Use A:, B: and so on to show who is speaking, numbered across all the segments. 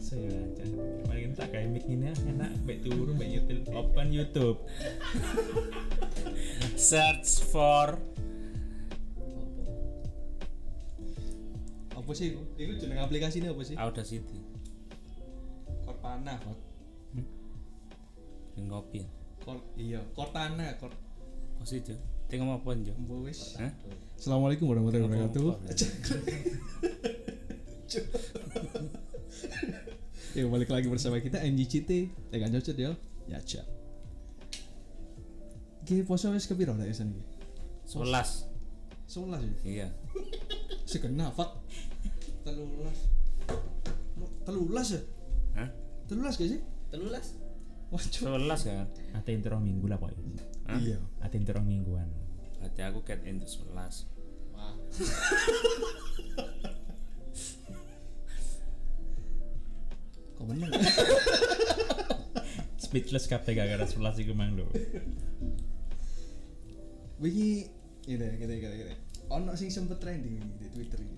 A: saya baca kemarin ya, tak kayak mic ini ya, enak baik turun baik YouTube open YouTube
B: search for
C: apa sih iku? iku jeneng aplikasi ini apa sih
B: Audacity
C: Cortana Cor-
B: Yang ngopi
C: Cor- iya Cortana Cor-
B: oh sih Jo Tengok mau apa Jo
C: Embo wis.
B: Hah?
D: Assalamualaikum warahmatullahi wabarakatuh. Ya balik lagi bersama kita MGCT. Ya kan cocok ya. Ya cak. Ki poso wis kepiro lek esen iki?
B: Sebelas
D: 11 ya.
B: Iya
D: Sekena fak.
C: telulas
D: Lo- 13 ya?
B: Hah?
D: 13 gak sih?
C: telulas
D: Wah, cuk.
B: Sebelas kan
A: atau intro minggu lah pak
D: Iya.
A: atau intro mingguan
B: Berarti aku cat into sebelas
C: wah
D: Kok bener?
A: speechless kabeh gara-gara sebelas iku mang lho
D: Wiki ini kita kita kita. Ono sing sempet trending iki di Twitter iki.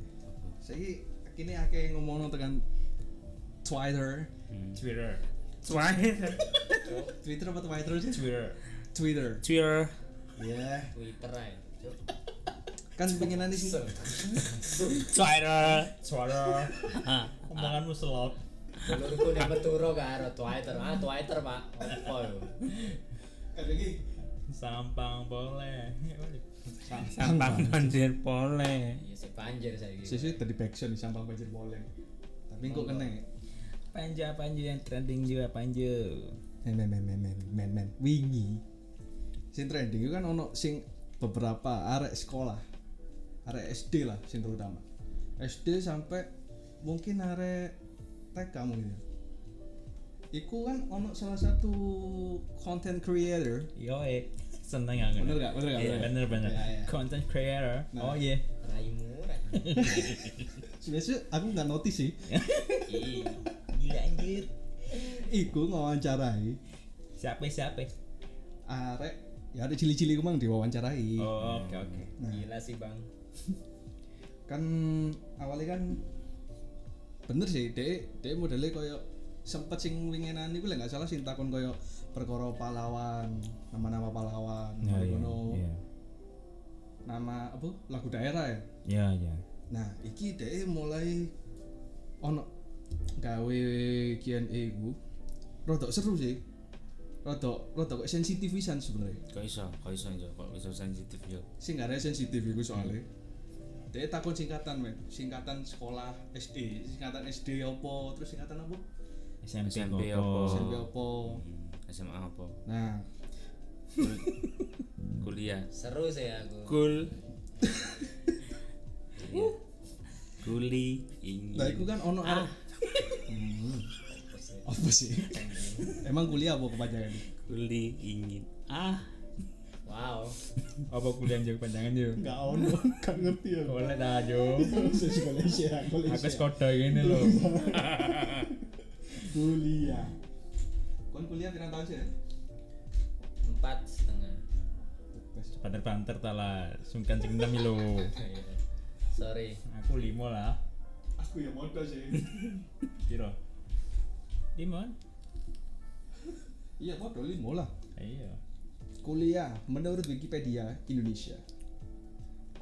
D: Saiki kini akeh ngomongno tekan Twitter.
A: Hmm. Twitter
B: Twitter
D: Twitter apa Twitter sih?
A: Twitter
D: Twitter.
B: Twitter
D: Ya.
C: Twitter ae Cuk.
D: Kan pengenane sing
B: Twitter
A: suara Ah. omonganmu selot
E: Dulurku nek meturu karo Twitter. Ah Twitter, Pak. Opo yo.
D: kadang iki
A: sampang boleh
B: Sampang banjir pole
E: Iya sik banjir saiki.
D: sisi tadi faction di sampang banjir boleh. Tapi kok kena ya?
A: panja panja yang trending juga panja
D: men men men men men men men wingi sing trending itu kan ono sing beberapa arek sekolah arek SD lah sing terutama SD sampai mungkin arek TK mungkin ya. Iku kan ono salah satu content creator
A: yo eh seneng aku
D: bener gak bener gak
A: Iya,
D: bener
A: bener bener
D: Iya, iya.
A: content creator
D: Nah.
A: oh iya
E: Raimu ra.
D: sebenarnya aku nggak notice sih
E: Iya.
A: gila anjir
D: Iku ngawancarai
A: siapa siapa
D: arek ya ada cili-cili kumang diwawancarai
A: oh oke oke
E: Gila sih, Bang.
D: kan awalnya kan bener sih dek dek modelnya koyo sempet sing winginan iku lek nggak salah sing takon koyo perkara pahlawan nama-nama pahlawan
A: ya
D: mari
A: ya
D: ngono.
A: ya
D: nama apa lagu daerah ya
A: ya ya
D: nah iki dek mulai ono gawe Q&A ku rodok seru sih rodok rodok kok sensitif pisan sebenarnya
B: Kok iso, kok iso Jo, kok iso sensitif Jo
D: sing gak ada sensitif iku soalnya dia takut singkatan men singkatan sekolah SD singkatan SD apa terus singkatan apa
A: SMP
B: SMP
A: Gopo.
B: apa?
D: SMP apa
B: Hmm, SMA apa?
D: nah
B: Kul- Kuliah
E: Seru sih aku.
B: Kul Iya. Kuli ingin
D: nah iku kan ono arek apa sih emang kuliah apa kepanjangan
B: Kuli ingin Ah
E: Wow.
A: apa kuliah jauh panjangan yuk
D: enggak ono gak ngerti ya
A: boleh dah Jo
D: Malaysia
A: aku skoda gini loh
D: kuliah kon kuliah pirang tahun sih ya?
E: Empat setengah.
A: banter-banter tak lah sungkan sing enam lo
E: Iya. Sorry.
A: aku limo lah
D: aku ya modal sih
A: kira limo
D: iya modal limo lah
A: iya
D: Kuliah menurut Wikipedia Indonesia.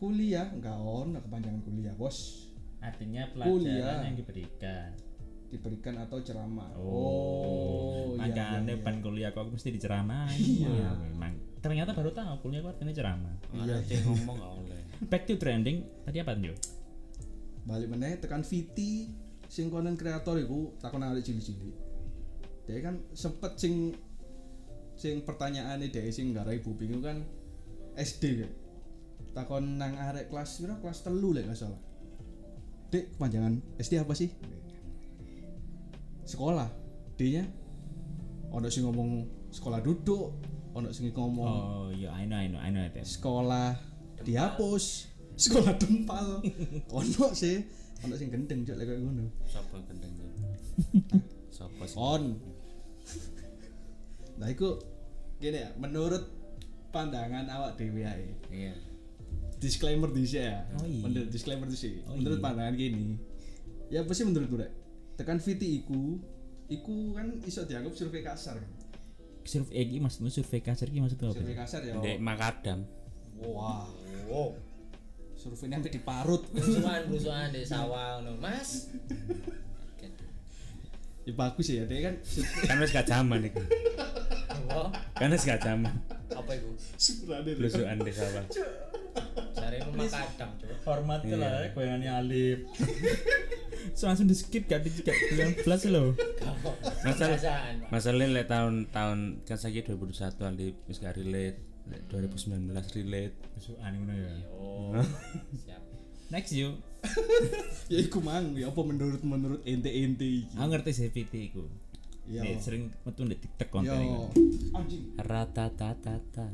D: Kuliah enggak ono kepanjangan kuliah, Bos.
A: artinya
D: Kuliah.
A: pelajaran yang diberikan
D: Diberikan atau ceramah.
A: Oh,
D: Oh, iya,
A: makanya
D: iya,
A: pan kuliah kok aku mesti diceramain. Wah, memang. Ternyata baru tahu kuliah kok artinya ceramah.
B: Ada yang ngomong gak oleh
A: Back to trending, tadi apa Jo?
D: iya. Balik meneh tekan VT sing konten kreator iku takon arek cilik-cilik. Dia kan sempet sing sing pertanyaannya dia sing nggarai bubing iku kan SD ya. Takon nang arek kelas piro? Kelas telu lek nggak salah. Dek, kepanjangan SD apa sih? sekolah D nya ono sing ngomong sekolah duduk ono sing ngomong
A: Oh, iya, I know, I know, I know itu.
D: sekolah dihapus sekolah dempal ono sih ono sing gendeng cok lek koyo ngono
B: Siapa gendeng Jo Siapa sih
D: on nah iku gini ya menurut pandangan awak dhewe ae
B: Iya
D: disclaimer di sini ya
A: Oh iya.
D: menurut disclaimer di sini
A: Oh
D: menurut
A: iya.
D: pandangan gini ya apa sih menurut gue tekan VT iku iku kan iso dianggap survei kasar kan.
A: survei iki maksudmu survei kasar iki maksudnya
D: survei
A: apa
D: kasar ya
B: Ndek makadam.
D: wah
E: Wow.
D: surveinya sampai diparut
E: Berusuhan berusuhan di sawah no. Mas.
D: ya bagus ya dia kan
B: Kan wis gak jaman iku.
E: Apa?
B: Kan wis gak jaman.
E: Apa itu?
D: survei
B: Blusukan desa Pak.
E: Cari rumah kadang cuk.
A: hormat lah goyangannya alip Iya. so langsung di skip gak di gak bilang belas loh
B: Masalah
E: Kebiasaan, Pak.
B: masalahnya lek tahun-tahun kan saiki 2021 alip wis gak relate. Lek 2019 relate.
A: so aneh ngono ya
E: Yo. Oh, Siap.
A: next yuk
D: ya iku mang ya apa menurut menurut ente ente iki
A: aku ngerti sih VT iku
D: Iya.
A: Nek sering metu di tiktok konten iku
D: yo anjing
B: Ratatatata.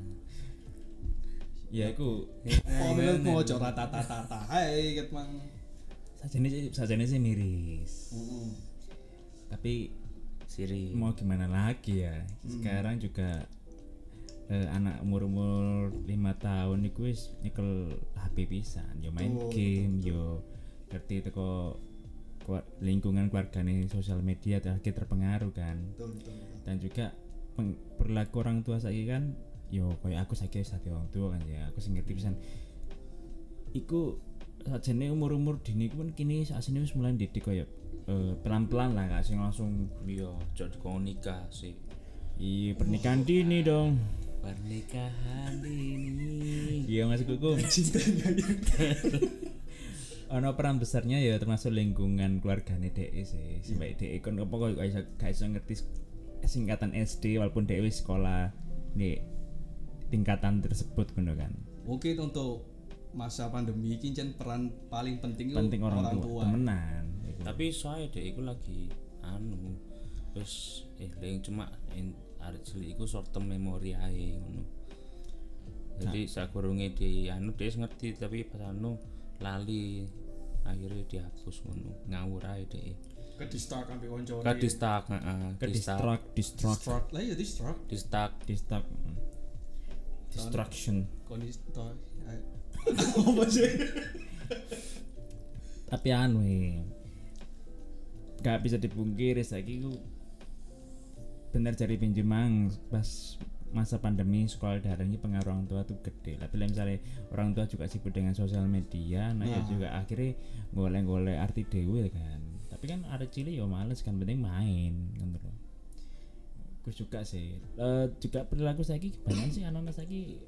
A: ya aku
D: oh menurut mau coba tata tata hai ket mang
A: sajane sih sajane sih miris tapi
B: Siri.
A: mau gimana lagi ya sekarang juga eh, anak umur umur lima tahun itu wis nyekel HP pisan yo main
D: Betul,
A: game yo ngerti teko keluar- lingkungan keluargane sosial media terakhir terpengaruh kan
D: betul betul betul.
A: dan juga peng- perilaku orang tua saya kan yo koyo aku saiki wis dadi orang tua kan ya aku sing ngerti pisan iku sajane umur-umur dini ku pun kini asine wis mulai didik koyo eh, pelan-pelan lah gak sing langsung
B: Iya, cok dikon nikah sih.
A: iya pernikahan dini dong
B: Pernikahan ini.
A: iya mas kuku
D: cintanya yang
A: ono peran besarnya ya termasuk lingkungan keluargane DE sih sampai DE e kon apa kok gak iso gak iso ngerti s- singkatan SD walaupun DE wis sekolah di tingkatan tersebut ngono kan
D: Oke untuk masa pandemi ini Cen, peran paling penting itu
A: penting orang, tua, temenan iku.
B: Tapi soalnya deh, aku lagi anu terus eh leng cuma in- arek cilik iku short term memory ae ngono. Jadi sakurunge di anu dia ngerti tapi pas anu lali akhirnya dihapus ngono ngawur ae deh
D: ke distak sampai koncori
B: ke distak heeh
A: ke distract distract
D: Struck, lah ya di struck
B: distak
A: distract mm. distraction
D: kondisi to- eh, apa sih
A: tapi anu eh, gak bisa dipungkiri saiki ku bener cari pinjaman pas masa pandemi sekolah daring ini pengaruh orang tua tuh gede tapi lah misalnya orang tua juga sibuk dengan sosial media nah, ya juga akhirnya golek-golek arti dewe kan tapi kan ada cili ya males kan penting main ngono lho. aku suka sih Eh, juga perilaku saiki kebanyakan sih anak-anak saiki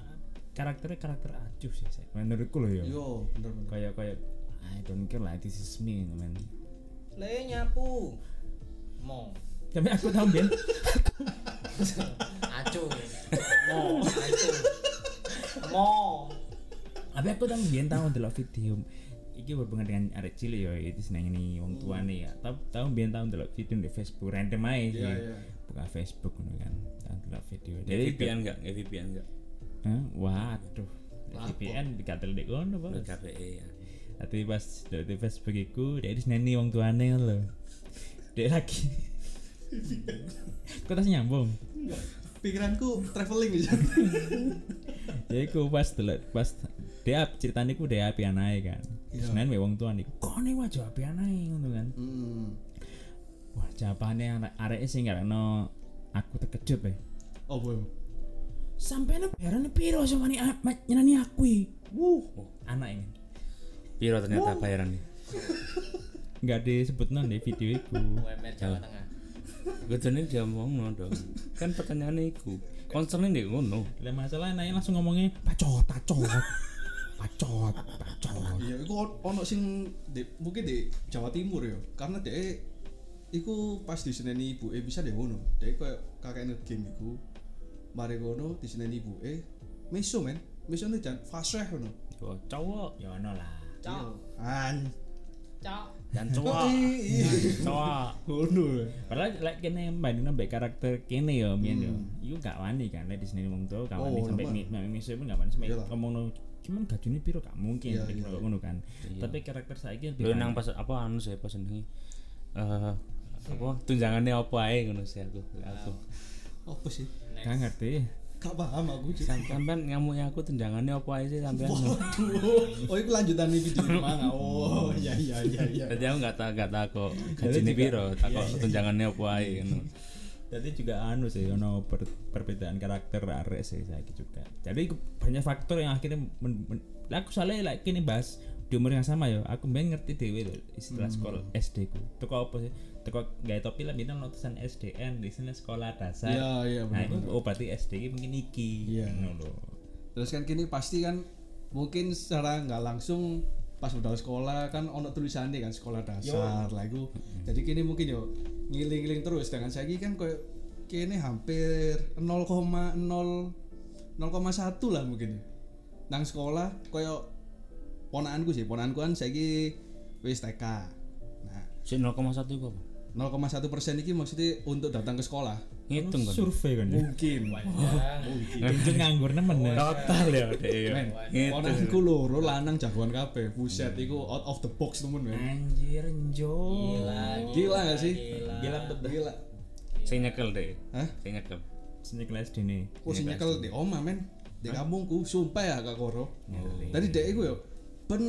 A: eh, karakternya karakter acuh sih Saiki. menurutku loh ya
D: yo bener bener
A: kayak kayak Ah, I don't care lah this is me man
E: Le iya nyapu. Mo.
A: tapi aku tahu Ben
E: Acu. Mo. Acu. Mo.
A: tapi aku tahu Ben tahu delok video iki berhubungan dengan arek cilik ya itu seneng ini wong tua nih ya tahu tahu Ben tahu delok video di Facebook random aja sih
D: Iya, iya.
A: buka Facebook ngono kan tahu delok video
B: Nge
A: jadi
B: VPN enggak nge VPN enggak
A: Hah? waduh VPN dikatel dek kono
B: Nge
A: bos
B: KPE ya
A: tapi pas delok di Facebook iku dia itu seneng ini wong tuane lho dia lagi kok tas nyambung
D: pikiranku traveling aja
A: Jadi ku pas delok pas dia ceritanya ku dia api anai kan. Terus main wae wong tuan iku kone wajah api anai ngono kan.
D: hmm.
A: Wah, jawabane arek areke sing ngarepno aku terkejut ya.
D: oh boy
A: Sampeyan barane piro sing wani a- ma- nyenani aku iki? Wuh, anak ini.
B: piro ternyata bayaran nih
A: Enggak disebutno di video iku.
E: UMR Jawa Tengah.
B: Gajane diomongno dong. Kan pertanyaane iku. Concerne ndek ngono.
A: Lah masalah anaknya langsung ngomongnya pacot, pacot. Pacot, pacot.
D: iya iku on- ono sing di, mungkin di Jawa Timur ya karena dia iku pas di seneni ibu bisa deh ngono dia kayak kakek ngegame iku mari ngono di seneni ibu eh meso men meso nih jangan fasih ngono
B: Yo cowok,
A: Ya ono lah.
E: Cok.
D: an
E: Cok.
B: dan cowok. cowok.
D: ngono
A: Padahal lek kene bandingno mbek karakter kene yo mien yo. Iku gak wani kan lek di sini wong tuwa gak wani
D: Hmm. Oh,
A: sampai
D: nampak.
A: mi- sampai miso pun gak wani sampai
D: Iyalah.
A: ngomongno cuman gajine piro gak mungkin
D: Iya,
A: lek
D: iya,
A: ngono- ngono kan. Tapi karakter saiki lebih
B: Lho nang pas apa anu sih pas jenenge eh apa tunjangannya apa ae ngono sih aku. Aku.
D: apa sih
A: gak ngerti.
D: Gak paham aku Cuk.
B: Sam- Sampean ngamuk aku tendangannya apa aja sih sampean?
D: Waduh. Oh, itu lanjutan nih video manga. Oh, iya iya iya iya.
B: Tadi aku nggak tak nggak takut gajinya piro, takut tendangannya apa aja. ngono.
A: Jadi juga anu sih ono per- perbedaan karakter arek sih saiki juga. Jadi iku banyak faktor yang akhirnya men, men- Lah, aku soalnya like kini bahas di umur yang sama ya. Aku ben ngerti dhewe lho istilah
D: Hmm.
A: sekolah SD ku. Teko apa sih? Teko gawe topi lah bintang notusan SDN di sini sekolah dasar.
D: Iya, iya,
A: Nah,
D: bener,
A: itu oh berarti SD ini mungkin iki.
D: Iya.
A: Ngono lho.
D: Terus kan kini pasti kan mungkin secara nggak langsung pas udah sekolah kan ono tulisannya kan sekolah dasar lah iku. Jadi kini mungkin yo ngiling-ngiling terus dengan saya kan kayak kini hampir 0,0 0,1 lah mungkin. Nang sekolah koyo ponaanku sih, ponaanku kan saya wis TK. Nah,
B: Sik 0,1 iku apa?
D: 0,1 persen ini maksudnya untuk datang ke sekolah.
B: Ngitung kan.
A: Survei kan.
D: Oh,
A: ya.
D: Mungkin. iya.
A: Itu nganggur nemen. ya.
B: Total ya deh. ya.
D: Men, ponanku loro lanang jagoan kabeh. Buset, iku out of the box temen, men.
A: Anjir njo.
E: Gila,
B: Oh,
D: Gila gak sih?
A: Gila betul.
D: Gila.
B: Sing nyekel deh.
D: Hah?
B: Sing nyekel.
A: Sini kelas dini.
D: Aku sing nyekel di oma, men. Di kampungku, sumpah ya Kak Koro. Tadi dek iku yo ben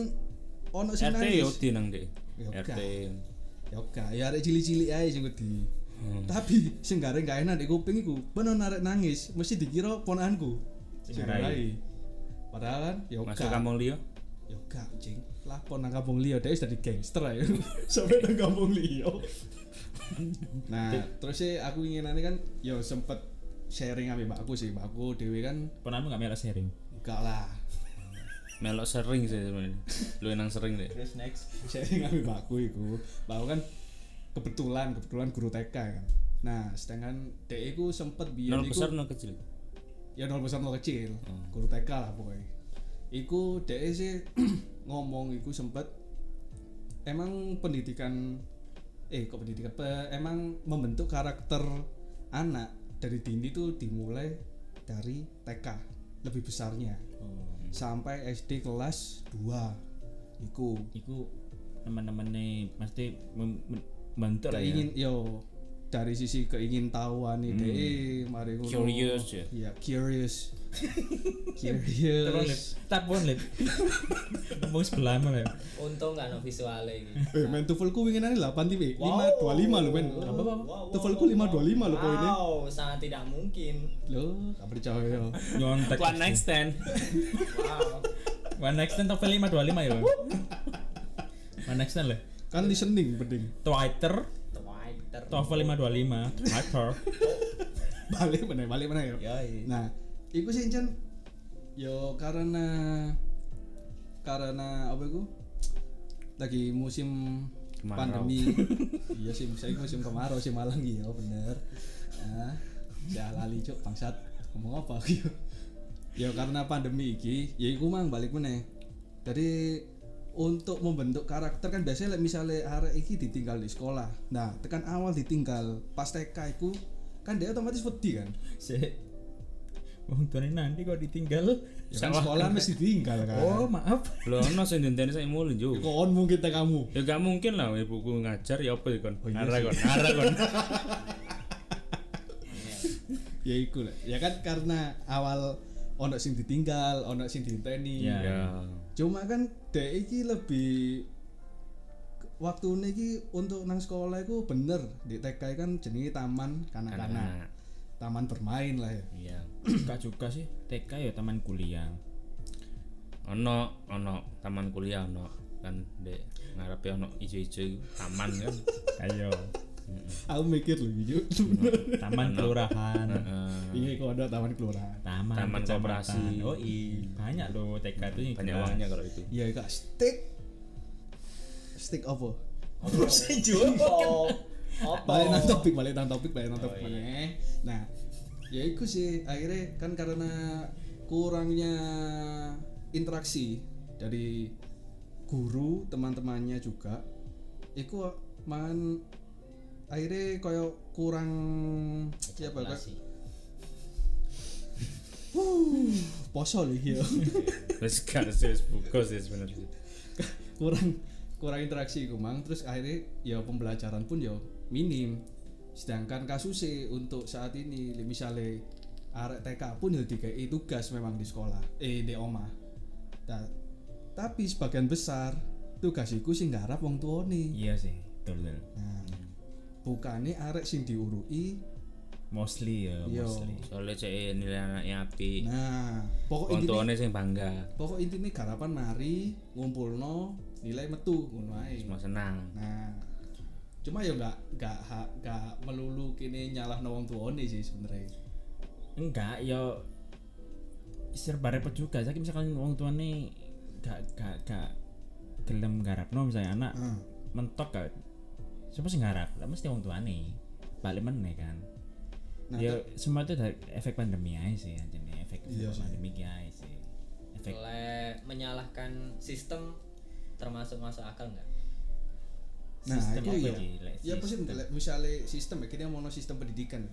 D: ono sing
B: RT yo
D: nangis.
B: di nang deh.
D: Ya,
B: RT.
D: Ya gak, ya arek cilik-cilik ae sing wedi.
B: Hmm.
D: Tapi sing gak gak enak di kuping iku, ben ono arek nangis, mesti dikira ponanku.
A: Sing ngarai.
D: Padahal kan yo
B: Masuk
D: gak.
B: kampung liyo.
D: Yo gak, cing. Lapor nang kampung liya, dia sudah di gangster ayo. Sampai nang kampung liya. nah, terus sih aku inginannya kan yo sempet sharing ambil mbakku sih, mbakku dewe kan
A: Pernah nggak melak sharing?
D: gak lah.
B: Melok sering sih sebenarnya. Lu enang sering deh.
C: Terus next.
D: Sharing ambil mbakku iku. Mbakku kan kebetulan, kebetulan guru TK kan. Nah, sedangkan DE ku sempet biar
B: Nol
D: iku-
B: besar nol kecil.
D: ya nol besar nol kecil
B: Hmm.
D: guru TK lah pokoknya iku DE sih ngomong iku sempet emang pendidikan eh kok pendidikan Pe- emang membentuk karakter anak dari dini tuh dimulai dari TK lebih besarnya
B: Hmm.
D: sampai SD kelas 2 iku
A: Iku teman-teman nih pasti mem- men- membentuk lah ya.
D: keingin yo dari sisi keingin tahuan nih DE mari ngono.
B: Hmm. Curious ya.
D: Iya, curious curious
A: Tepon lip, tepon lip. Tepung sebelah mana ya?
E: Untung gak no visualnya ini.
D: Eh, men tuvelku winginane 8 tipe. 525 lho, men. Apa apa? Tuvelku 525 lho poinnya.
E: Wow, sangat tidak mungkin.
D: Lho, gak percaya.
A: Nyontek.
B: One night stand.
E: Wow.
A: One next time topel 525 ya. One next time lah.
D: Kan listening penting.
A: Twitter,
E: Twitter.
A: TOEFL 525, Twitter.
D: Balik meneh, balik meneh yo. Nah, iku sih Jen. Yo karena karena apa iku? Lagi musim
B: Kemarau.
D: pandemi. iya sih, saya musim kemarau sih malang iya bener. Nah, saya lali cuk bangsat. Ngomong apa aku yo? Ya karena pandemi iki, ya iku mang balik meneh. Jadi untuk membentuk karakter kan biasanya like, misalnya arek iki ditinggal di sekolah. Nah, tekan awal ditinggal pas TK iku kan dia otomatis wedi kan.
A: Si. Wong tuane nanti kok ditinggal.
D: Ya kan sekolah mesti tinggal kan.
A: Oh, maaf.
B: Lu ono sing dinteni saya mulai juga.
D: Kon mungkin tak kamu.
B: Ya gak mungkin lah ibuku ngajar ya apa ya kon.
A: Oh,
D: iya
B: Arah kon, arah kon.
D: Ya iku lah. Ya kan karena awal ono sing ditinggal, ono sing ditenteni.
A: Ya.
B: Ya.
D: Cuma kan dek iki lebih waktu iki untuk nang sekolah iku bener di TK kan jenenge taman kanak-kanak.
B: Anak-anak.
D: Taman bermain lah ya.
B: Iya.
A: Gak juga sih. TK ya teman kuliah.
B: Ono ono taman kuliah ono kan dek ngarepe ono ijo-ijo iku, taman kan.
A: Ayo.
D: Aku mikir lho Yu.
A: Taman kelurahan.
B: Heeh.
D: Iya iku ono taman kelurahan.
A: Taman,
B: Taman
A: kecamatan.
B: koperasi.
A: Oh, iya. Banyak loh TK itu yang
B: Banyak
A: kita-
B: uangnya kalau itu.
D: Iya iku stick. Stick apa?
E: Oh,
D: balik nang topik balik nang topik balik nang topik meneh. nah ya itu sih akhirnya kan karena kurangnya interaksi dari guru teman-temannya juga itu man akhirnya koyo kurang ya
E: Iya,
D: apa kak Wuh, poso lagi ya
B: Wis gak sih wis bungkus ya sebenarnya.
D: kurang kurang interaksi iku mang terus akhirnya ya e pembelajaran pun ya minim sedangkan kasus untuk saat ini li- misalnya arek TK pun ya dikei tugas memang di sekolah eh di omah Ta- tapi sebagian besar tugas iku sing garap wong tuane
A: iya sih betul betul
D: nah bukane arek sing diurui
A: mostly ya
D: Yo.
A: mostly
B: soalnya cek nilai anaknya api
D: nah pokok intinya
B: kontoannya sing bangga
D: pokok intinya garapan mari ngumpulno nilai metu ngono ae.
B: semua senang
D: Nah, cuma ya nggak nggak ha- nggak melulu kini nyalah wong tuane sih sebenarnya.
A: enggak ya serba repot juga saya misalkan orang tua nih gak gak gak gelem garap no misalnya anak
D: Hmm.
A: mentok gak siapa sih garap lah mesti orang tua nih balik meneh kan
D: Nah,
A: ya semua itu dari efek pandemi aja sih anjir nih efek
D: Iya sih.
A: pandemi ki aja sih efek
E: oleh menyalahkan sistem termasuk masuk akal nggak
D: Nah,
A: sistem
D: itu
A: apa
D: ya.
A: sih, like,
D: Ya apa sih
A: sistem?
D: like, misalnya sistem ya, kini mau sistem pendidikan.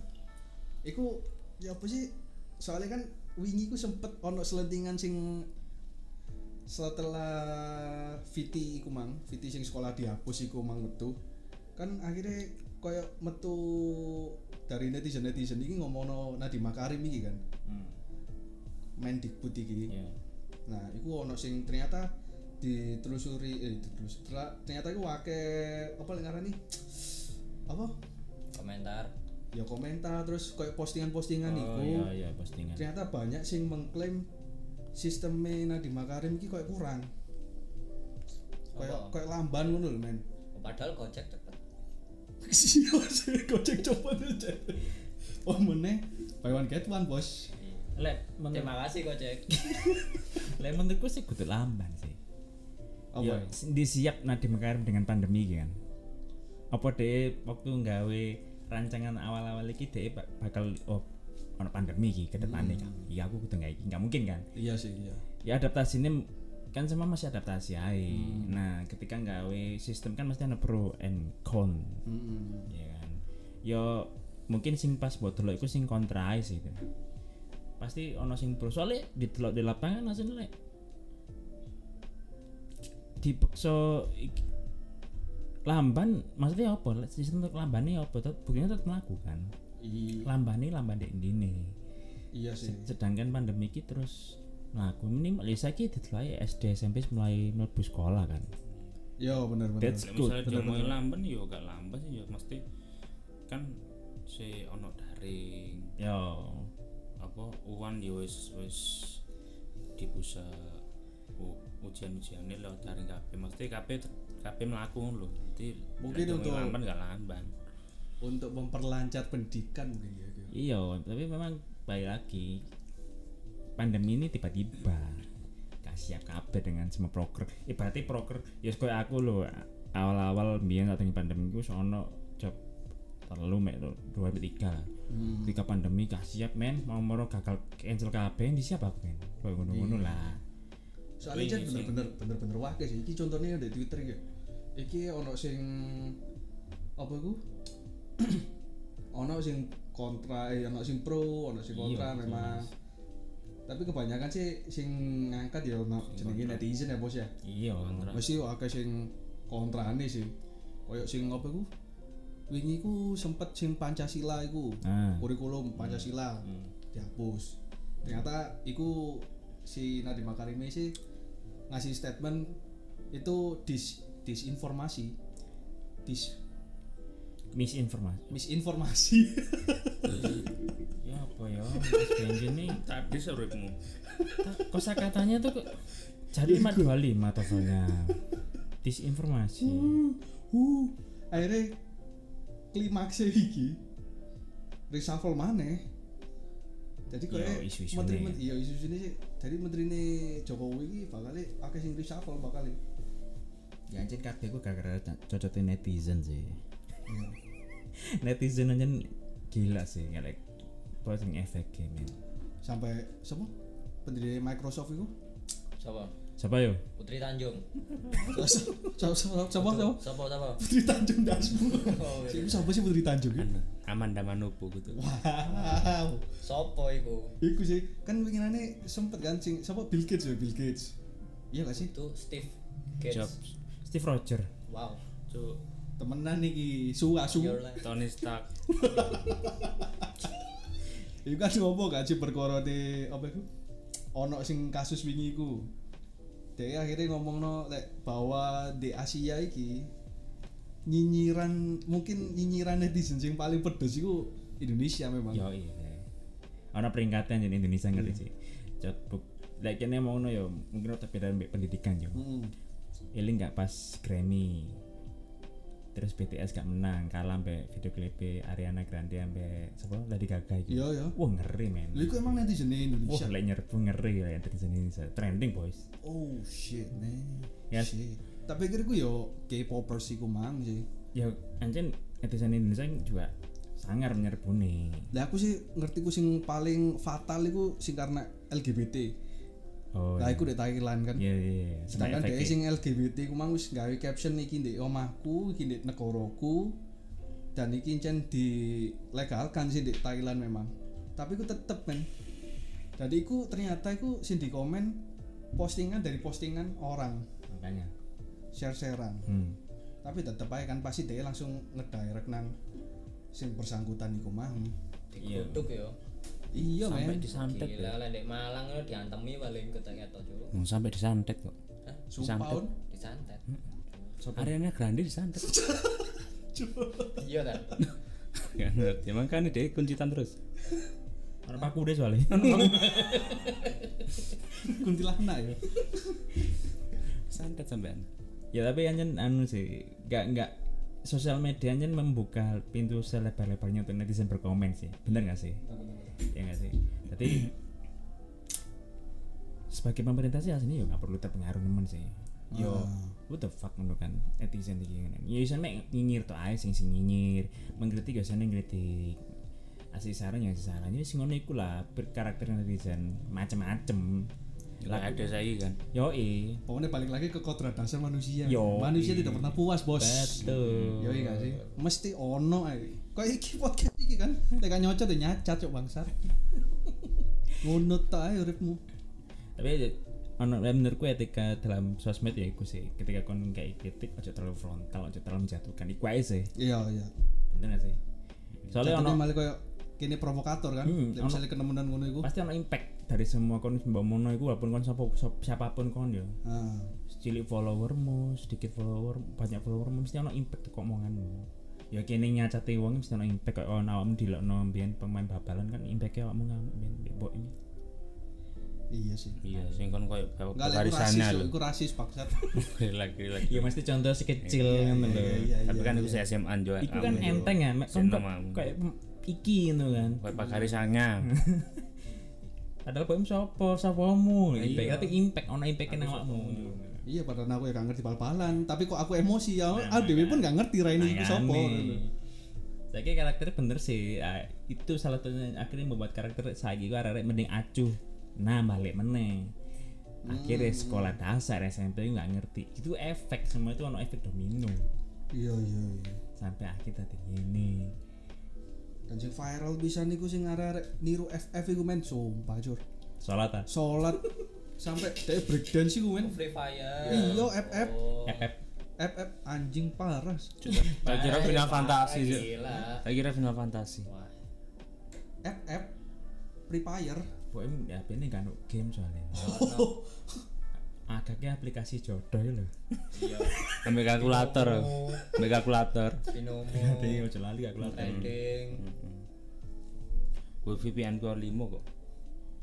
D: Iku ya apa sih? Soalnya kan wingi ku sempet ono selentingan sing setelah Viti iku mang, Viti sing sekolah dihapus iku mang metu. Kan akhirnya koyo metu dari netizen-netizen ini ngomongno Nadiem Makarim iki kan.
A: Hmm,
D: Mendikbud iki.
A: iya.
D: Nah, iku ono sing ternyata ditelusuri eh ditelusuri tra- ternyata iku wake apa lek ngarani? Apa?
E: komentar
D: Ya komentar terus koyo postingan-postingan
A: oh
D: iku.
A: iya iya postingan
D: Ternyata banyak sing mengklaim sistemnya Nadiem Makarim iki koyo kurang. Koyo
E: Apa?
D: koyo lamban ngono lho, men.
E: Oh, padahal gojek cepet
D: Gojek coba aja. Oh meneh, buy one get one, Bos.
E: Eh,
A: lek menurut
E: terima kasih gojek
A: lek menurutku sih kudu lamban sih
D: Apa?
A: Ya, s- disiap Nadiem Makarim dengan pandemi iki kan. Apa deh waktu nggawe rancangan awal-awal iki deh bakal oh ono pandemi iki ke depannya kan. Iya aku kudu nggak iki, nggak mungkin kan.
D: Iya sih, iya.
A: Ya adaptasi ini kan semua masih adaptasi aja. Nah, ketika nggawe sistem kan mesti ada pro and con,
D: Mm-mm.
A: ya kan. Yo mungkin sing pas buat dulu iku sing kontra ae sih. Pasti ono sing pro soalnya di di lapangan asline lek dipaksa ik- lamban maksudnya apa Lek sistem untuk lambane apa tetap buktinya tetap melakukan
D: I-
A: lambane lamban di ini
D: Iya sih.
A: sedangkan pandemi ini terus melaku ini Malaysia kita mulai SD SMP mulai mlebu sekolah kan
D: Yo bener-bener.
A: That's-
B: Lek
A: Good,
B: misalnya dia mau lamban yo gak lamban sih ya mesti kan si ono daring
A: yo
B: apa uan ya wis wis dibusa ujian ujiannya lewat daring kabeh mesti kabeh kabeh mlaku lho dadi
D: Mungkin
B: lek dongeng
D: untuk-
B: lamban gak lamban
D: Untuk memperlancar pendidikan mungkin ya. Gil.
A: iyo Iya, tapi memang balik lagi pandemi ini tiba-tiba gak siap kabeh dengan semua proker ibaratnya proker ya kaya aku loh awal-awal biar saat ini pandemi itu sono job terlalu mek lho, dua sampai tiga lah ketika pandemi gak siap men mau moro gagal cancel kabeh di siapa aku men Kayak ngono-ngono lah
D: soalnya Jan bener-bener bener-bener wakil sih iki contohnya di Twitter ya iki ono sing apa iku ono sing kontra eh ono sing pro ono sing kontra memang tapi kebanyakan sih sing ngangkat ya ono jenenge netizen ya bos ya
A: iya
D: mesti akeh sing kontrane sih koyok sing apa iku wingi ku sempet sing Pancasila iku
A: Ah.
D: kurikulum Pancasila dihapus ternyata iku si Nadiem Makarim ini sih ngasih statement itu dis disinformasi dis
A: misinformasi
D: misinformasi
A: ya apa ya Mas Benjen nih
B: tadi suripmu
A: kosa katanya tuh kok jadi 525 tokonya disinformasi
D: uh akhirnya klimaksnya iki reshuffle maneh jadi
A: Iya,
D: kayak
A: isu-isune.
D: menteri menteri iya isu isu ini sih dari menteri ini Jokowi ini bakal akeh sing reshuffle bakal e.
A: ya anjir kabeh ku gara-gara cocotin netizen sih netizen aja gila sih ngelek posting efek game
D: sampai semua pendiri Microsoft itu
E: siapa
A: siapa yo
E: Putri Tanjung
D: siapa siapa siapa siapa?
E: siapa siapa
D: Putri Tanjung Dasmu
E: Oh,
D: siapa siapa sih Putri Tanjung
B: Iya.
D: ya?
B: Amanda Manopo gitu
D: wow
E: Sopo iku
D: Iku sih kan winginane sempet kan sing siapa Bill Gates ya Bill Gates iya gak sih
E: itu Steve Gates
B: Jobs
A: Steve Roger
E: wow
B: Cuk,
E: Iya,
D: temenan nih suwa suwa
E: your life
B: Tony Stark
D: Iku kan ngopo gak sih perkara ne apa iku? Ono sing kasus wingi iku. Dek akhirnya ngomongno lek bahwa di Asia iki nyinyiran mungkin nyinyiran netizen sing paling pedes iku Indonesia memang.
A: Yo iya. Ana peringkatan jadi Indonesia ngerti sih. Cotbuk. Lek kene mau no yo mungkin tapi beda mbek pendidikan yo.
D: Mm-mm.
A: Eling gak pas Grammy. Terus BTS gak menang, kalah mbek video klip e Ariana Grande mbek sapa Lady Gaga iki.
D: Yo yo.
A: Wah ngeri men.
D: Ya, Lha iku emang netizen
A: Wah
D: Indonesia.
A: Oh, lek nyerbu ngeri lek netizen Indonesia. Trending boys.
D: Oh shit, man.
A: Yes.
D: Shit. Tapi pikirku yo K-popers iku mang sih.
A: Ya anjen netizen Indonesia juga sangar menyerbu nih.
D: Lah aku sih ngerti ku sing paling fatal iku sing karena LGBT.
A: Oh.
D: Lah iku di Thailand kan.
A: Iya iya. iya. Sama
D: Sedangkan
A: efeknya.
D: dhek sing LGBT ku mang wis gawe caption iki ndek omahku, iki ndek negaraku. Dan iki encen dilegalkan sih di Thailand memang. Tapi ku tetep men. Jadi iku ternyata iku sing di komen postingan dari postingan orang
A: makanya.
D: share-sharean.
A: Hmm.
D: Tapi tetep aja kan pasti dia langsung ngedirect nang sing bersangkutan iku mang.
E: dikutuk yo
D: Iya men.
B: sampai disantet ya.
E: gila lah di Malang itu diantemi paling ketek-ketek cuk
B: Oh, sampai disantet kok
D: Sumpah.
B: disantet.
D: Un.
E: disantet
B: Ariana Grande disantet
E: iya kan
B: gak ngerti makanya dia kuncitan terus
A: Orang paku deh soalnya.
D: kuntilanak ya
B: santet sampean
A: ya tapi anjen anu sih nggak nggak sosial media anjen membuka pintu selebar-lebarnya untuk netizen berkomen sih bener nggak sih ya nggak sih jadi sebagai pemerintah sih aslinya ya nggak perlu terpengaruh nemen sih yo what the fuck ngono kan netizen iki ngene ya iso mek nyinyir to ae sing sing nyinyir mengkritik ya sana ngkritik asih saran ya asih saran ya sing ngono iku lah berkarakter netizen macem-macem eh.
B: lah ada saya kan
A: yoi
D: pokoknya balik lagi ke kodrat dasar manusia
A: Yo.
D: manusia tidak pernah puas bos
A: betul
D: yo iya nggak sih mesti ono ae kok iki podcast iki kan tekan nyocot ya nyacat cok bangsat ngunut ta ae uripmu
A: tapi ya- ono ya menurutku etika dalam sosmed ya iku sih ketika kon kayak kritik ojo terlalu frontal ojo terlalu menjatuhkan iku ae sih
D: iya iya
A: bener gak sih soalnya
D: Jatuhnya
A: ono
D: malah koyo kene provokator kan
A: Hmm,
D: Lek misalnya kenemuan ngono iku
A: pasti ono impact dari semua kon mbak mono iku walaupun kon sapa, sapa- siapapun kon yo
D: Ah,
A: cilik followermu sedikit follower banyak followermu mesti ono impact kok omonganmu ya kene nyacati wong mesti ono impact kok ono awakmu dilokno mbiyen pemain babalan kan impactnya awakmu ngamuk mbiyen mbek mbok ini
D: iya sih
B: iya sing kon koyo bawa
D: Enggak, lek aku
B: barisan
D: rasis,
B: lho
D: aku rasis bangsat.
B: lagi lagi
A: ya mesti contoh sekecil ngono lho
D: Iya,
B: tapi
D: iya.
B: kan aku SMA juga
A: iku kan enteng ya mek kon
B: Seneng
A: kok-
B: awakmu.
A: kayak mm, iki ngono kan
B: koyo pakari sanga
A: Padahal poem sopo, sopomu impact,
B: Iya.
A: tapi impact, ono impact kena awakmu.
D: Iya, padahal aku ya gak ngerti bal-balan, tapi kok aku emosi ya. Ah, dhewe pun gak ngerti raine
A: nah,
D: iku sapa.
A: Saya kira karakternya bener sih, Ah, itu salah satunya akhirnya membuat karakter saya gue arek mending acuh, nah balik meneh. Akhirnya sekolah dasar SMP nggak ngerti, itu efek semua itu ono efek domino
D: Iya, iya, iya.
A: sampai akhirnya tadi ini.
D: Dan sing viral bisa niku sing arek niru FF iku men sumpah jur.
A: Sholat ah,
D: Salat sampai dek breakdance iku men.
E: Free Fire
D: Iya FF
A: FF.
D: FF anjing parah.
B: tak kira final fantasi
A: Iya.
B: Cuk.
E: gila
B: tak kira final fantasi
E: wah
D: FF Free Fire.
A: Poem ya ini kan game soalnya. Agaknya aplikasi jodoh ya loh.
B: ambil kalkulator ambil kalkulator
E: binomo
A: Tapi ojo lali aku lali.
E: trading
B: gue VPN gue limo kok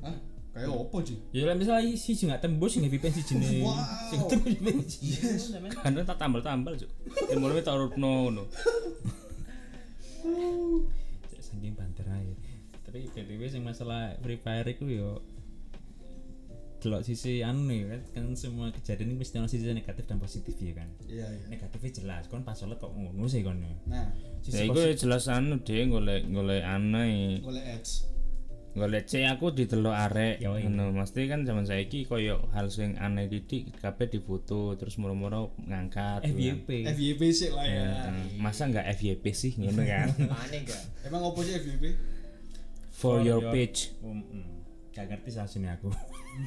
D: Hah? Kayak opo sih?
A: Ya lah misalnya si juga tembus nggak VPN si jenis.
D: Wow.
A: Sing tembus VPN si jenis.
B: kan tak tambal-tambal cuk timurnya tak urutno ngono
A: Cek Saking banter aja. Tapi btw sing masalah Free Fire itu yo delok sisi anu nih kan, kan semua kejadian ini mesti ada sisi negatif dan positif ya kan.
D: Iya, iya.
A: Negatifnya jelas, kon pas sholat kok ngono sih kon. ya.
D: Nah,
B: ya
A: Sisi
B: iku
A: positif.
B: jelas anu dhewe golek golek aneh
D: golek ads.
B: golek C aku didelok arek
A: Ya, iya.
B: ngono mesti kan zaman saiki koyo hal sing aneh didik kabeh difoto terus moro-moro ngangkat gitu
A: FYP.
B: kan.
D: FYP sih lah ya.
B: Nah, masa nggak FYP sih ngono kan
E: panik gak
D: Emang opo sih FYP?
B: for your page
A: Um, um. Gak ngerti salah sini aku.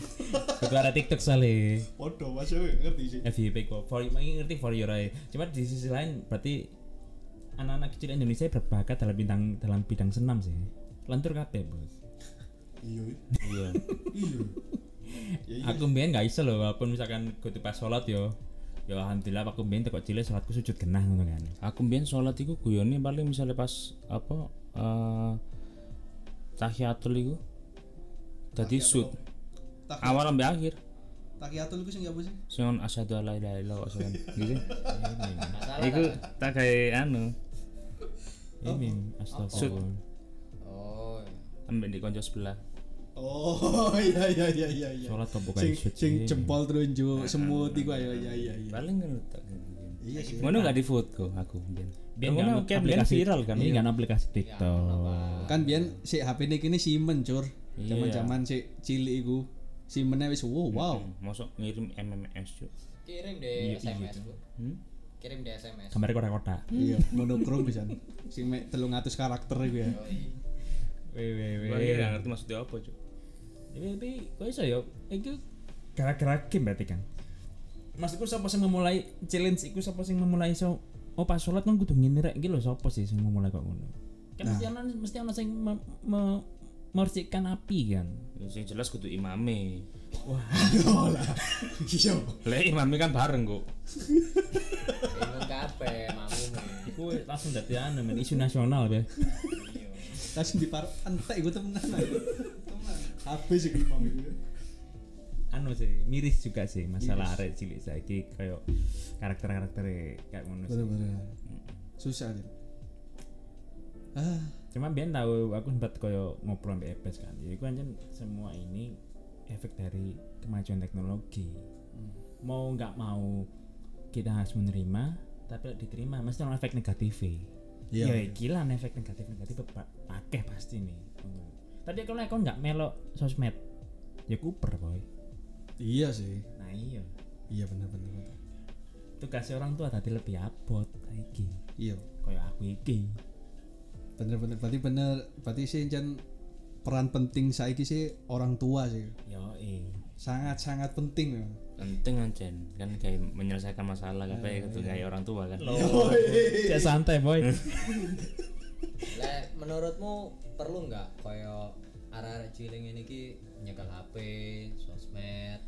A: Itu ada TikTok soalnya.
D: Podo Mas yo ngerti sih.
A: FYP kok for ini ngerti for your eye. Cuma di sisi lain berarti anak-anak kecil Indonesia berbakat dalam bidang dalam bidang senam sih. Lentur kabeh, Bos.
D: Iya.
B: iya
D: Iya. Ya iya.
A: aku mbien gak iso loh walaupun misalkan kudu pas sholat yo ya alhamdulillah aku mbien tekok cilik sholatku sujud genah ngono kan
B: aku mbien sholat iku guyone paling misalnya pas apa eh tahiyatul iku dadi sud
D: Tak
B: awal sampai akhir
D: takiatul iku sing apa sih?
B: sing on asyhadu alla ilaha illallah wa asyhadu anna- gitu
E: Masalah
B: iku
E: kan?
B: tak gawe anu
D: Oh.
A: ini astagfirullah
E: Oh. iya.
B: sampe di konco sebelah
D: Oh, iya iya iya iya iya.
A: sholat kok bukan
D: Sing
A: sujud
D: sing
A: ini.
D: jempol terunjuk semut iku ayo iya iya iya.
B: paling kan tak gini.
D: Iya sih.
B: ngono gak di foto aku mbien
A: Biyen kan
B: Ngono kayak mbien viral kan
A: ini
B: iya.
A: kan aplikasi TikTok
D: Kan biyen si HP ini kini Simen, Cur.
B: Iya.
D: Zaman-zaman si cilik iku. Simennya wis wow, wow.
B: Hmm, mosok ngirim MMS cuk
E: Kirim deh SMS, Bu.
B: Iya, Hmm?
E: Kirim deh SMS.
A: gambar kotak-kotak
D: Iya, monokrom pisan. Sing mek 300 karakter iku ya.
B: Gua
D: iya,
B: akhirnya gak ngerti maksudnya apa cuk
A: Tapi- tapi kok iso ya itu gara-gara game berarti kan maksudku siapa sing memulai challenge iku siapa sing memulai so oh pas sholat kan kudu ngene rek iki lho siapa sih sing memulai kok ngono kan mesti ana mesti ana sing me, me- memercikan api kan
B: yang Ya, jelas kudu imame
D: Iya.
B: lah imame kan bareng kok
E: Bingung kabeh mamumu. ya.
A: iku langsung dadi anu men isu nasional ya. be
D: Tas di par entek iku temenan. Temenan. Habis iku mam iku. ya.
A: anu sih miris juga sih masalah arek cilik saiki kayak karakter-karakter kayak ngono sih
D: Bener-bener. Susah nih. Ah,
A: cuma biar tahu aku sempat koyo ngobrol sama Epes kan jadi aku anjir semua ini efek dari kemajuan teknologi Hmm. mau nggak mau kita harus menerima tapi diterima mesti ada efek negatif
D: Iya.
A: ya gila efek negatif negatif pakai pasti nih Hmm. tapi kalau aku nggak melo sosmed ya kuper boy
D: iya sih.
A: nah iya
D: Iya bener-bener.
A: tugasnya orang tua tadi lebih abot iki
D: Iya.
A: koyo aku iki
D: Bener-bener berarti bener berarti sih jan peran penting saiki sih orang tua sih.
A: yo eh
D: Sangat-sangat penting ya.
B: penting anjen kan kayak menyelesaikan masalah kayak kudu kayak orang tua kan
A: ya santai boy
E: Lah menurutmu perlu nggak koyo arah-arah ciling ini ki nyekel HP, sosmed.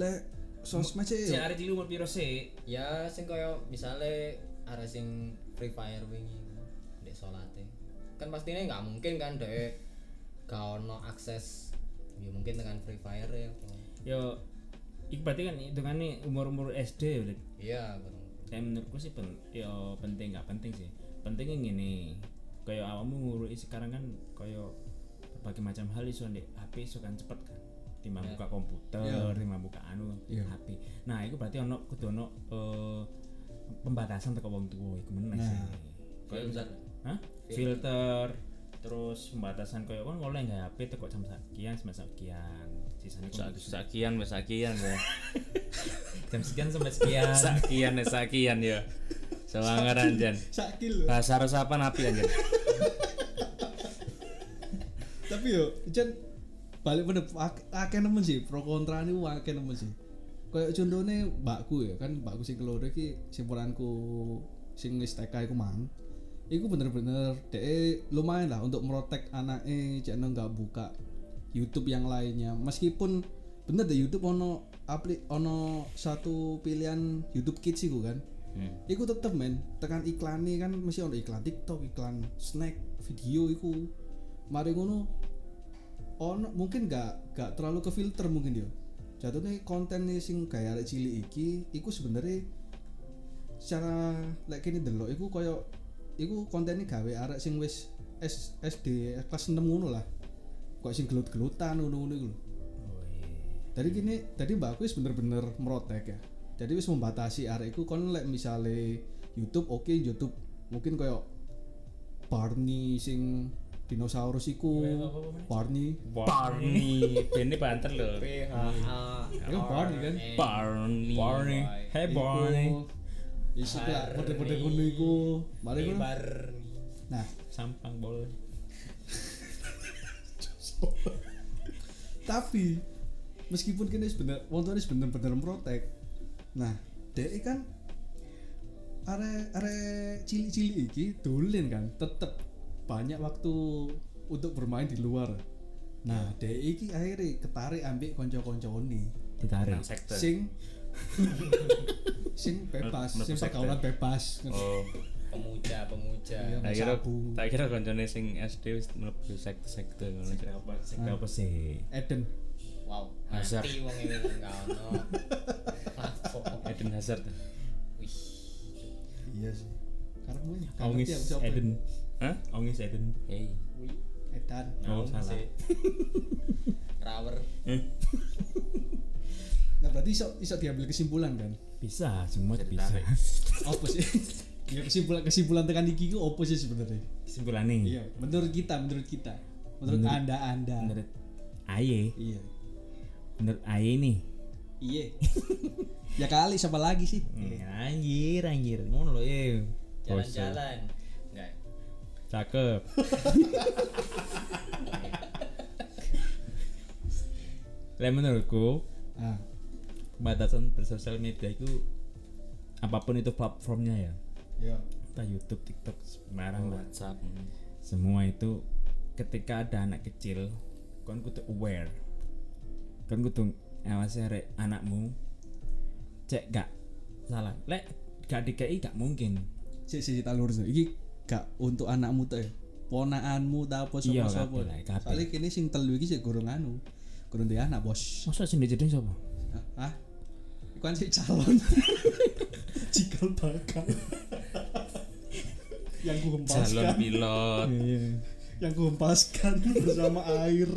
D: Lah sosmed sih.
A: arek cilik umur piro sih
E: Ya sing koyo misale arah sing Free Fire wingi ndek salate. Kan pastinya nggak mungkin kan dek gak ono akses ya mungkin dengan Free Fire ya. apa.
A: Yo, itu berarti kan hitungannya umur-umur SD ya, Lid.
E: Iya, bener.
A: Kayak menurutku sih pen, yo penting nggak penting sih. Pentingnya gini, kayak awakmu ngurui sekarang kan kayak berbagai macam hal iso ndek HP iso kan cepet kan. Timbang buka komputer, timbang buka anu
D: Iya.
A: HP. Nah, itu berarti ono kudu ono eh, pembatasan teko wong tuwa iku meneh sih. Kayak misal, hah? Filter terus pembatasan kayak kan oleh nggak HP teko jam sekian, jam sekian. Sisanya kan
B: Sa- sakian wes sakian ya
A: jam sekian sampai sekian
B: sakian wes sakian ya semangat anjen
D: Sakil.
B: bahasa resapan api anjen
D: tapi yo jen balik pada ak- akeh nemen sih pro kontra ini wah akeh nemen sih kayak contohnya mbakku ya kan mbakku sing keluar iki sing peranku sing wis TK iku mang iku bener-bener de lumayan lah untuk merotek anaknya cek nggak buka YouTube yang lainnya meskipun bener deh YouTube ono aplik ono satu pilihan YouTube Kids iku kan Iku tetep men, tekan iklan nih kan mesti ono iklan TikTok, iklan snack, video iku. Mari ngono ono mungkin gak gak terlalu ke filter mungkin yo. Jatuhnya konten nih sing gaya arek cilik iki iku sebenarnya secara lek kene delok iku koyo iku kontennya gawe arek sing wis S- SD kelas 6 ngono lah. Kok sing gelut-gelutan ngono-ngono iku lho. Jadi gini, tadi Mbak Aku wis bener-bener merotek ya. Jadi wis membatasi arek iku kon lek misale YouTube oke YouTube mungkin koyo Barney sing dinosaurus iku Barney
B: Barney Benny banter loh
E: P H A
D: Itu Barney kan?
B: Barney
A: Barney hey
D: iku.
A: Barney
D: Isi lah pede-pede ngono iku. Mari ngono. Nah,
A: sampang boleh
D: tapi meskipun kini sebener wong tuane bener-bener protek nah dek kan are are cilik-cilik iki dolen kan tetep banyak waktu untuk bermain di luar nah dek iki akhirnya ketarik ambek konco-koncone
A: ditarik
B: Nang sekte.
D: sing sing bebas
B: Mlebu
D: sing
B: sekte.
D: pergaulan bebas
B: Oh,
E: pemuja pemuja
D: Iya.
B: tak kira
D: Sabu.
B: tak kira koncone sing SD wis mlebu sekte-sekte ngono Cuk.
A: sekte apa sih
D: Eden
E: wow
B: Azar.
E: mati wong ini nggak ono Lapo.
B: Eden Hazard.
E: wih
D: iya sih karena gue nggak
A: Ongis
D: ngerti aku siapa.
A: Eden
B: Hah?
A: Ongis Eden
B: Hei.
D: Edan
B: Nah,
A: Oh, salah.
E: rawer
D: nah berarti iso iso diambil kesimpulan kan
A: bisa semua
B: Bisa
A: bisa
B: ditarik.
D: apa sih ya kesimpulan kesimpulan tekan iki ku apa sih sebenarnya
A: kesimpulannya
D: iya menurut kita menurut kita menurut,
A: Menurut-
D: anda anda
A: menurut Aye
D: iya
A: menurut Aye nih
D: iya ya kali siapa lagi sih
B: Hmm.
A: Eh, anjir anjir ngono loh eh
B: ya.
E: jalan-jalan enggak
A: cakep lah menurutku
D: ah
A: batasan bersosial media itu apapun itu platformnya ya
D: iya
A: entah YouTube TikTok sembarang lah
B: WhatsApp. ngono.
A: semua itu ketika ada anak kecil kon kudu aware kon kudu awasi arek anakmu cek gak salah lek gak dikei gak mungkin
D: si si tak lurus iki gak untuk anakmu tuh ya ponaanmu tak apa
A: Iya,
D: sapa sapa
A: kabeh lah, kabeh.
D: soalnya kini sing telu iki sih gorong anu gorong dia anak bos
A: masa sendiri jadi siapa
D: Hah? Hah? Iku kan si calon cikal bakal yang ku
B: Calon
D: hempaskan
B: pilot.
A: Iya.
D: yang ku hempaskan bersama air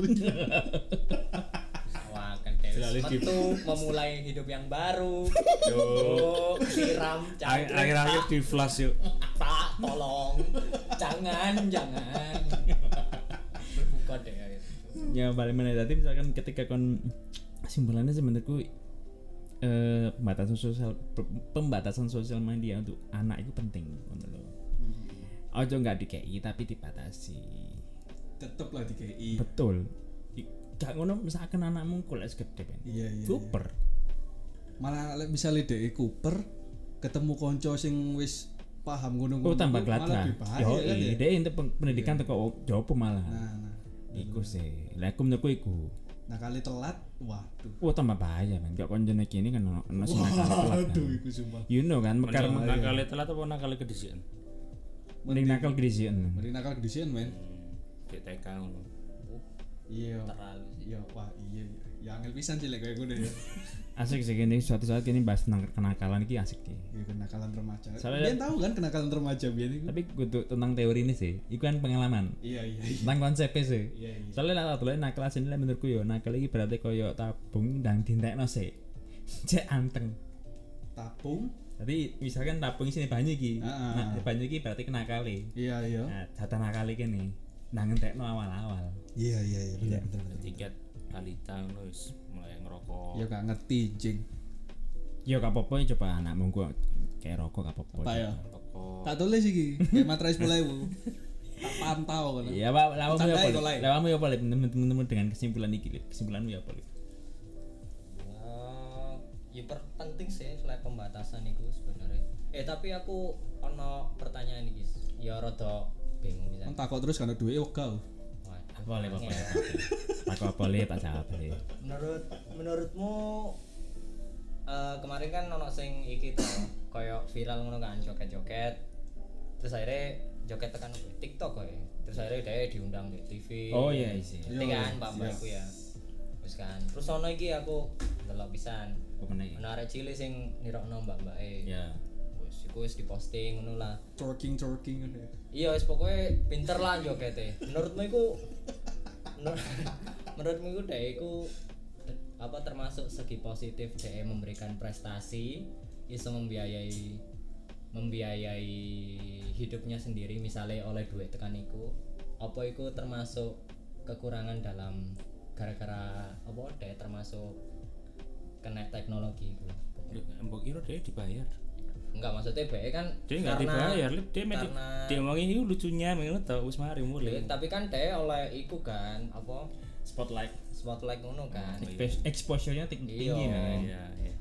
E: Wah, kan Dewi
B: Selalu di-
E: metu memulai hidup yang baru.
B: Yo.
E: Yo, siram
B: Akhir-
E: cangkir.
B: Akhir-akhir di flash yuk.
E: Pak, Pak, tolong. Jangan, jangan. Berbuka deh. gitu. ayo.
A: ya paling negatif misalkan ketika kon simpulannya sebenarku eh, pembatasan sosial pe- pembatasan sosial media untuk anak itu penting untuk lo ojo nggak dikei tapi dibatasi
D: tetep lah di KI
A: betul I- gak ngono misalkan anakmu kuliah gede ben
D: iya iya
A: super
D: malah le- bisa lihat Cooper ketemu konco sing wis paham gunung
A: Oh tambah
D: malah
A: kelatra.
D: lebih bahaya
A: Yo, iya,
D: kan ya
A: ide ente pendidikan teko jopo malah.
D: nah, nah.
A: Iku sih. Lah aku menurutku iku.
D: nah kali telat waduh
A: Wah tambah bahaya kan. Gak konjone kini kan ono ono sing nakal telat kan.
D: Aduh, iku sumpah.
A: You know kan mekar
B: Karena
D: iya.
B: nakal telat apa nakal kedisian?
A: mending nakal gedisian.
D: Mending nakal gedisian, men.
B: Hmm, BTK ngono.
D: Iya.
E: Terlalu sih.
D: Iya, wah, iya. iya. Ya angel pisan sih lek koyo ngene ya.
A: Asik sih gini suatu saat kini bahas tentang kenakalan iki asik sih.
D: Iya, kenakalan remaja.
A: Soalnya-
D: Biyen tahu kan kenakalan remaja biyen iku.
A: Tapi kudu tentang teori ini sih. Iku kan pengalaman.
D: Iya, iya. iya.
A: Tentang konsepnya e sih.
D: Iya, iya.
A: Soalnya lah tuh nakal sini lah menurutku yo nakal iki berarti koyo tabung dan dintekno sih. Cek anteng.
D: Tapung.
A: Jadi misalkan tabung sini banyu iki.
D: Heeh.
A: Nah, banyu iki berarti kena kali.
D: Iya, iya.
A: Nah, data nakal iki nih. Nang entekno awal-awal.
D: Iya, iya, iya, bener bener. bener.
B: Tiket kalita ngono wis mulai ngerokok.
D: Ya gak ngerti, jing.
A: Yo gak apa-apa ya, coba anakmu gua kayak rokok gak apa-apa.
D: Apa ya?
B: Rokok.
D: Tak tulis iki. Kayak matrais mulai bu. Tak pantau kan.
A: Iya, Pak, lawamu ya
D: Bercanda ya,
A: apa?
D: Kolai.
A: Lawamu ya apa? Lip? Temen-temen dengan kesimpulan iki, Lip. kesimpulanmu ya apa? Lip?
E: Wah, ya per- penting sih selain pembatasan itu sebenarnya. Eh, tapi aku ono pertanyaan nih, guys. Ya rada bingung bisa.
D: Kan takut terus karena duit yo kau.
E: Waduh,
A: Apa Lip, apa?
E: angel.
A: Lip? Aku apa Lip, tak jawab Lip.
E: menurut menurutmu eh, kemarin kan ono sing iki to koyo viral ngono kan joget-joget terus akhirnya joget tekan apa ya? TikTok kok ya terus akhirnya dia diundang di TV
A: Oh, iya, iya.
E: Ngerti kan Pak Mbakku ya terus kan terus ono iki aku delok pisan
A: Apa meneh iki?
E: ono arek cilik sing nirokno Mbak Mbake
A: Ya.
E: wis iku wis diposting ngono lah
D: Twerking twerking ngono ya.
E: iya wis pokoknya pinter lah jogete menurutmu iku menur- menurutmu iku dek iku te- apa termasuk segi positif dek memberikan prestasi bisa membiayai membiayai hidupnya sendiri misalnya oleh duit tekan iku apa iku termasuk kekurangan dalam gara-gara apa dek termasuk kena teknologi iku
B: Mbok kira dia dibayar.
E: enggak maksudnya bae kan
B: Dia enggak dibayar, Lip. Dia mesti
E: karena-
B: dia ngomongin itu lucunya ngono to wis mari
A: Iya.
E: Duit,
B: mulai.
E: tapi kan dek oleh iku kan apa
A: Spotlight. Iya.
E: spotlight ngono kan.
D: Iya.
A: Expo- Exposure-nya ting- tinggi
E: Iya.
A: ya.
B: Iya, iya.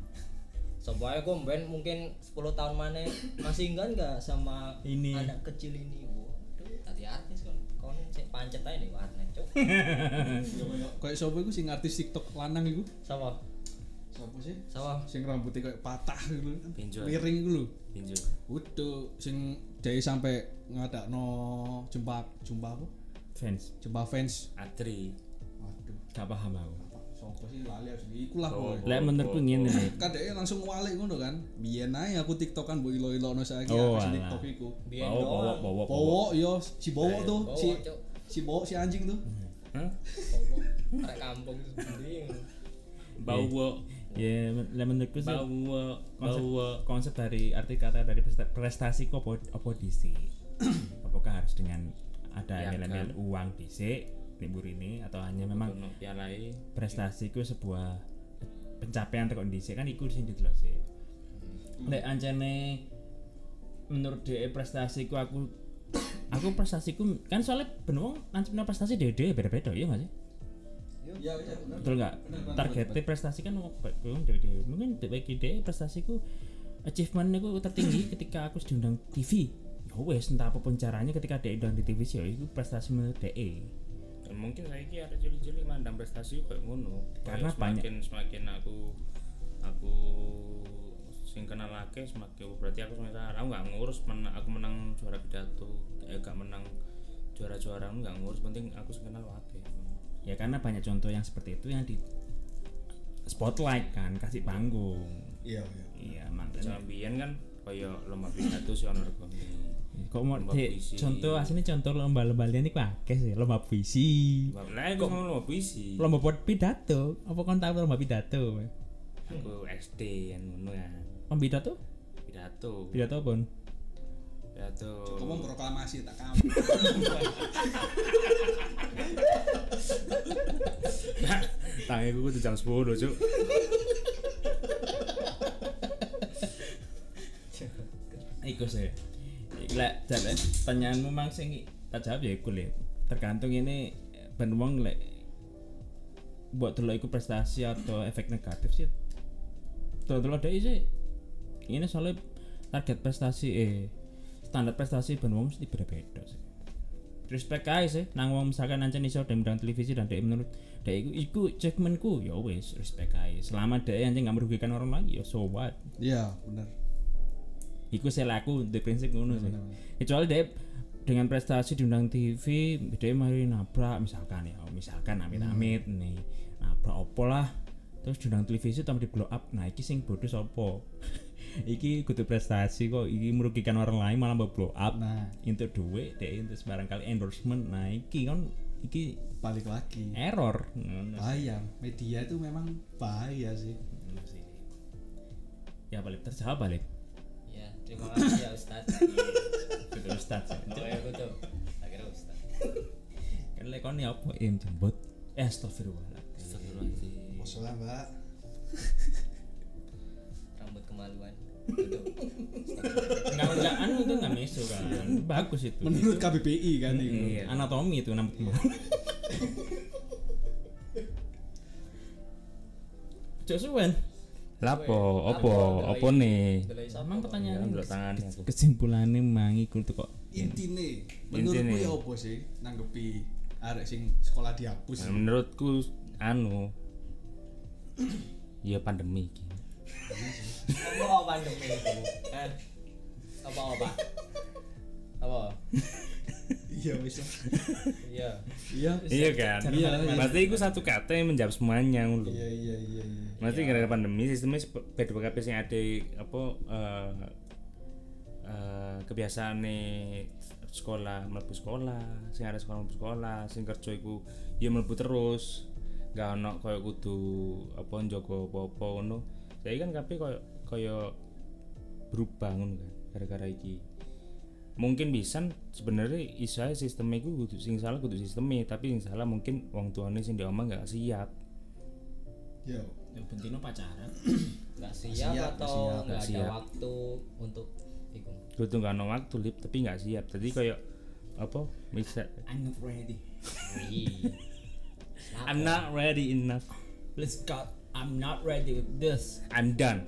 E: Soalnya aku mben mungkin 10 tahun mana masih ingat nggak sama
A: Ini.
E: anak kecil ini? Waduh, hati-hati sih kon. Kon sih. pancet aja di warnet cuk
D: Kayak sapa iku sing artis TikTok lanang iku?
E: sama
D: Sapa sih?
E: sama
D: Sing rambutnya kayak patah gitu.
B: Benjol.
D: Miring gitu lho.
B: pinjol
D: Udah sing dhewe sampe ngadakno jumpa jumpa apa?
A: fans
D: Jumpa fans.
B: atri
D: Waduh.
A: gak paham aku
D: apa? Sopo sih lali aku sih. Iku lah boy.
A: lek menurutku ngene nih
D: Kadek langsung walik ngono kan. Biyen ae aku TikTokan mbok ilo-ilono saiki
A: Oh,
D: aku sing
A: alah.
D: TikTok iku.
E: biar
A: Bawa, bawa,
E: doang
A: bawa, bawa.
D: Powo yo si Bowo tuh,
E: Bawa,
D: si
E: Cuk.
D: si Bowo si anjing tuh.
B: Hah?
E: Bawa. Arek kampung sendiri
B: bawa
A: ya men- lek menurutku sih
B: bawa
A: konsep,
B: bawa
A: konsep dari arti kata dari presta- prestasi kok apa apa dhisik? apakah harus dengan ada
B: Ya,
A: elemen uang dhisik libur ini atau hanya memang
B: ono pialai
A: prestasi itu sebuah pencapaian tekan dhisik kan iku sing didelok sih nek ancene menurut DE prestasiku aku aku prestasiku kan soalnya bener wong nancepna prestasi dhewe-dhewe beda-beda ya nggak sih
D: Iya, iya bener.
A: betul nggak targetnya prestasi kan wong baik- wong dhewe-dhewe mungkin bagi dhewe prestasiku achievementnya ku tertinggi ketika aku diundang TV ya wes entah apapun caranya ketika DE diundang di TV sih ya itu prestasi menurut E. DE
B: Ya, mungkin saya kira ada jeli-jeli mandang prestasi kayak ngono
A: Karena
B: Kayak
A: banyak-
B: semakin semakin aku aku sing kenal lagi semakin berarti aku sementara aku nggak ngurus men, aku menang juara pidato eh gak menang juara-juara aku nggak ngurus penting aku sing kenal lagi
A: ya karena banyak contoh yang seperti itu yang di spotlight kan kasih panggung
D: Iya, iya.
A: iya makanya
B: Jambian kan kaya lomba pidato sih honor kami
A: kok mau
B: Iya. Lomba
A: di-
B: puisi.
A: contoh aslinya contoh lomba-lomba lian itu akeh sih lomba puisi
B: lah aku mau lomba puisi
A: lomba buat pidato apa kon tahu lomba pidato
B: aku SD yang ngono ya
A: lomba pidato
B: pidato
A: pidato pun
B: pidato
D: Ngomong proklamasi tak kamu.
B: tangi gue tuh jam 10 cuk
A: iku sih lek jalan pertanyaanmu mang sing tak jawab ya iku lek tergantung ini ben wong lek buat dulu iku prestasi atau efek negatif sih dulu dulu ada sih ini soalnya target prestasi eh standar prestasi ben wong mesti beda-beda sih respect aja sih nang wong misalkan ancen iso dem dan televisi dan dek menurut dek iku iku achievementku ya wis respect aja selama dek ancen nggak merugikan orang lagi ya so what
D: Iya, bener.
A: Iku saya laku di prinsip ngono sih. Kecuali dia dengan prestasi diundang TV, dia mari nabrak misalkan ya, misalkan amit-amit nih nabrak opo lah. Terus diundang televisi tambah di blow up. Nah, iki sing bodoh sopo? iki kudu prestasi kok, iki merugikan orang lain malah mbok blow up.
D: Nah,
A: Untuk duit, dia untuk sembarang kali endorsement. Nah, iki kan iki
D: balik lagi.
A: error. Ngono sih.
D: Bahaya, media itu memang bahaya sih.
A: Ngono sih. Ya balik terjawab balik.
E: ya terima kasih ya Ustaz
A: Betul Ustaz.
E: oh ya betul akhirnya Ustaz
A: kan lekon ya apa im jembut eh astagfirullahaladzim
B: Astagfirullahaladzim.
D: Masalah, Mbak.
E: rambut kemaluan betul
A: enggak enggak anu itu enggak meso kan bagus itu
D: Menurut KBBI kan itu.
A: iya, anatomi itu rambut kembar Cok suwen
B: Lapo,
E: Lapo,
B: opo,
E: delai.
B: opo nih?
E: Delai sapa,
A: emang
E: Bang?
A: pertanyaan
B: Delok Iya, tangan aku.
A: kesimpulannya mang iku tuh kok
D: Intine, menurutku
B: Intine.
D: ya opo sih nanggepi arek sing sekolah dihapus.
B: Nah, Menurutku anu ya pandemi iki.
E: apa apa pandemi itu Eh, apa apa apa
D: Iya, wis lah.
E: iya
D: Iya.
B: Iya kan?
D: Iya, iya.
B: Pasti iku satu kata yang menjawab semuanya ngono lho.
D: Iya, iya, iya, iya.
B: Mesti gara-gara pandemi sistemnya sep- PDKP sing ada apa eh eh, kebiasaan nih sekolah mlebu sekolah, sing ada sekolah mlebu sekolah, sing kerja iku ya mlebu terus. Gak ono koyo kudu apa njogo apa-apa ngono. Saiki kan kabeh koyo koyo berubah ngono kan gara-gara iki. Mungkin bisa sebenarnya isa sistemnya iku kudu sing salah kudu sistemnya, tapi sing salah mungkin wong tuane sing diomong gak siap.
D: Yo.
A: ya bentino pacaran
E: nggak siap,
D: siap,
E: atau
D: nggak
E: nggak ada
B: siap.
E: waktu untuk itu
B: Kudu gak ono waktu lip tapi nggak siap. Tadi kayak apa? Bisa
A: I'm not ready
B: I'm not ready enough.
A: let's go I'm not ready with this
B: I'm done.